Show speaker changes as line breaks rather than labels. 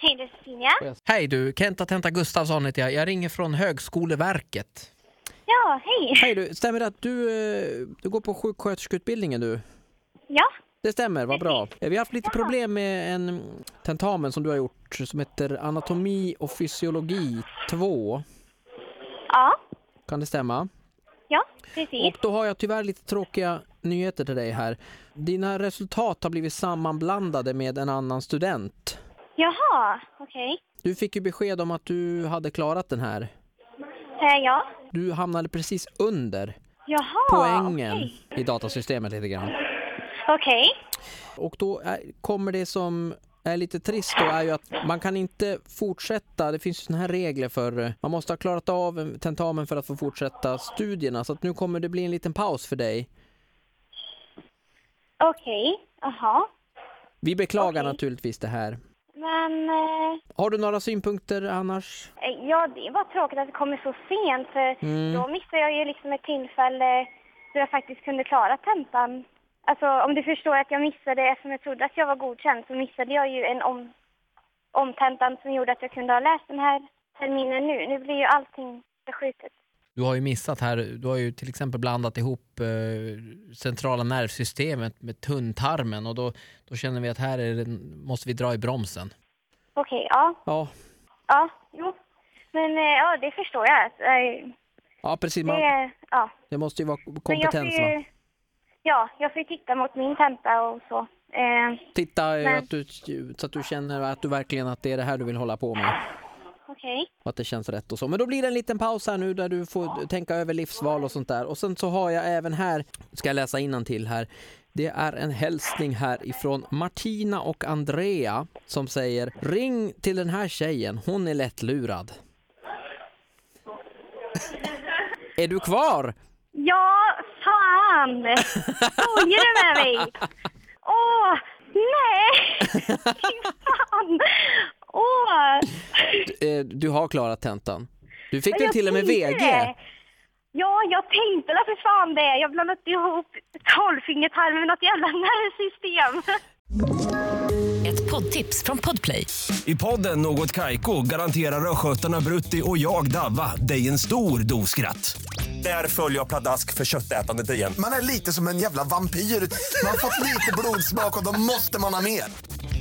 Hej, det är Cecilia.
Hej du, Kenta Tenta Gustafsson heter jag. Jag ringer från Högskoleverket.
Ja, hej.
Hej du, stämmer det att du, eh, du går på sjuksköterskeutbildningen du?
Ja,
Det stämmer, vad bra. Eh, Vi har haft lite problem med en tentamen som du har gjort som heter Anatomi och fysiologi 2.
ja,
Kan det stämma?
ja, precis.
Och då har jag tyvärr lite tråkiga nyheter till dig här. Dina resultat har blivit sammanblandade med en annan student.
Jaha, okej.
Du fick ju besked om att du hade klarat den här.
Eh, ja,
Du hamnade precis under
jaha.
poängen
Ah, okej.
i datasystemet lite grann.
Okej,
Och då är, kommer det som är lite trist då är ju att man kan inte fortsätta. Det finns ju såna här regler för eh, man måste ha klarat av en tentamen för att få fortsätta studierna. Så att nu kommer det bli en liten paus för dig.
okej, jaha.
Vi beklagar
Okej.
naturligtvis det här.
Men, eh,
Har du några synpunkter annars?
ja, det är bara tråkigt att det kommer så sent för
Mm.
då missar jag ju liksom ett tillfälle då jag faktiskt kunde klara tentan. Alltså, om du förstår att jag missade, eftersom jag trodde att jag var godkänd så missade jag ju en om, omtentan som gjorde att jag kunde ha läst den här terminen nu. Nu blir ju allting förskjutet.
Du har ju missat här. Du har ju till exempel blandat ihop eh, centrala nervsystemet med tunntarmen och då, då känner vi att här är det, måste vi dra i bromsen.
Okej, ja.
Ja,
Ja, jo. Men eh, ja, det förstår jag. Att, eh,
ja precis. Man,
Det, ja.
det måste ju vara
Men jag
kompetens va?
Ja, jag får ju titta mot min tenta och så. Eh,
Titta eh,
Nej.
att du, så att du känner att du verkligen att det är det här du vill hålla på med.
Okej.
Och att det känns rätt och så. Men då blir det en liten paus här nu där du får tänka över livsval och sånt där. Och sen så har jag även här, ska jag läsa till här. Det är en hälsning här ifrån Martina och Andrea som säger Ring till den här tjejen, hon är lättlurad. är du kvar?
Ja, fan! Skojar du med mig? Åh, nej! Fy fan! Åh!
Du, eh, du har klarat tentan. Du fick ju
jag
till och med
tänkte
VG.
det. Ja, jag tänkte det för fan det. Jag blandade ihop tolvfingertarmen med något jävla nervsystem.
Ett poddtips från Podplay.
I podden Något Kaiko garanterar östgötarna Brutti och jag, Davva, dig en stor dos skratt. Där följer jag pladask för köttätandet igen.
Man är lite som en jävla vampyr. Man har fått lite blodsmak och då måste man ha mer.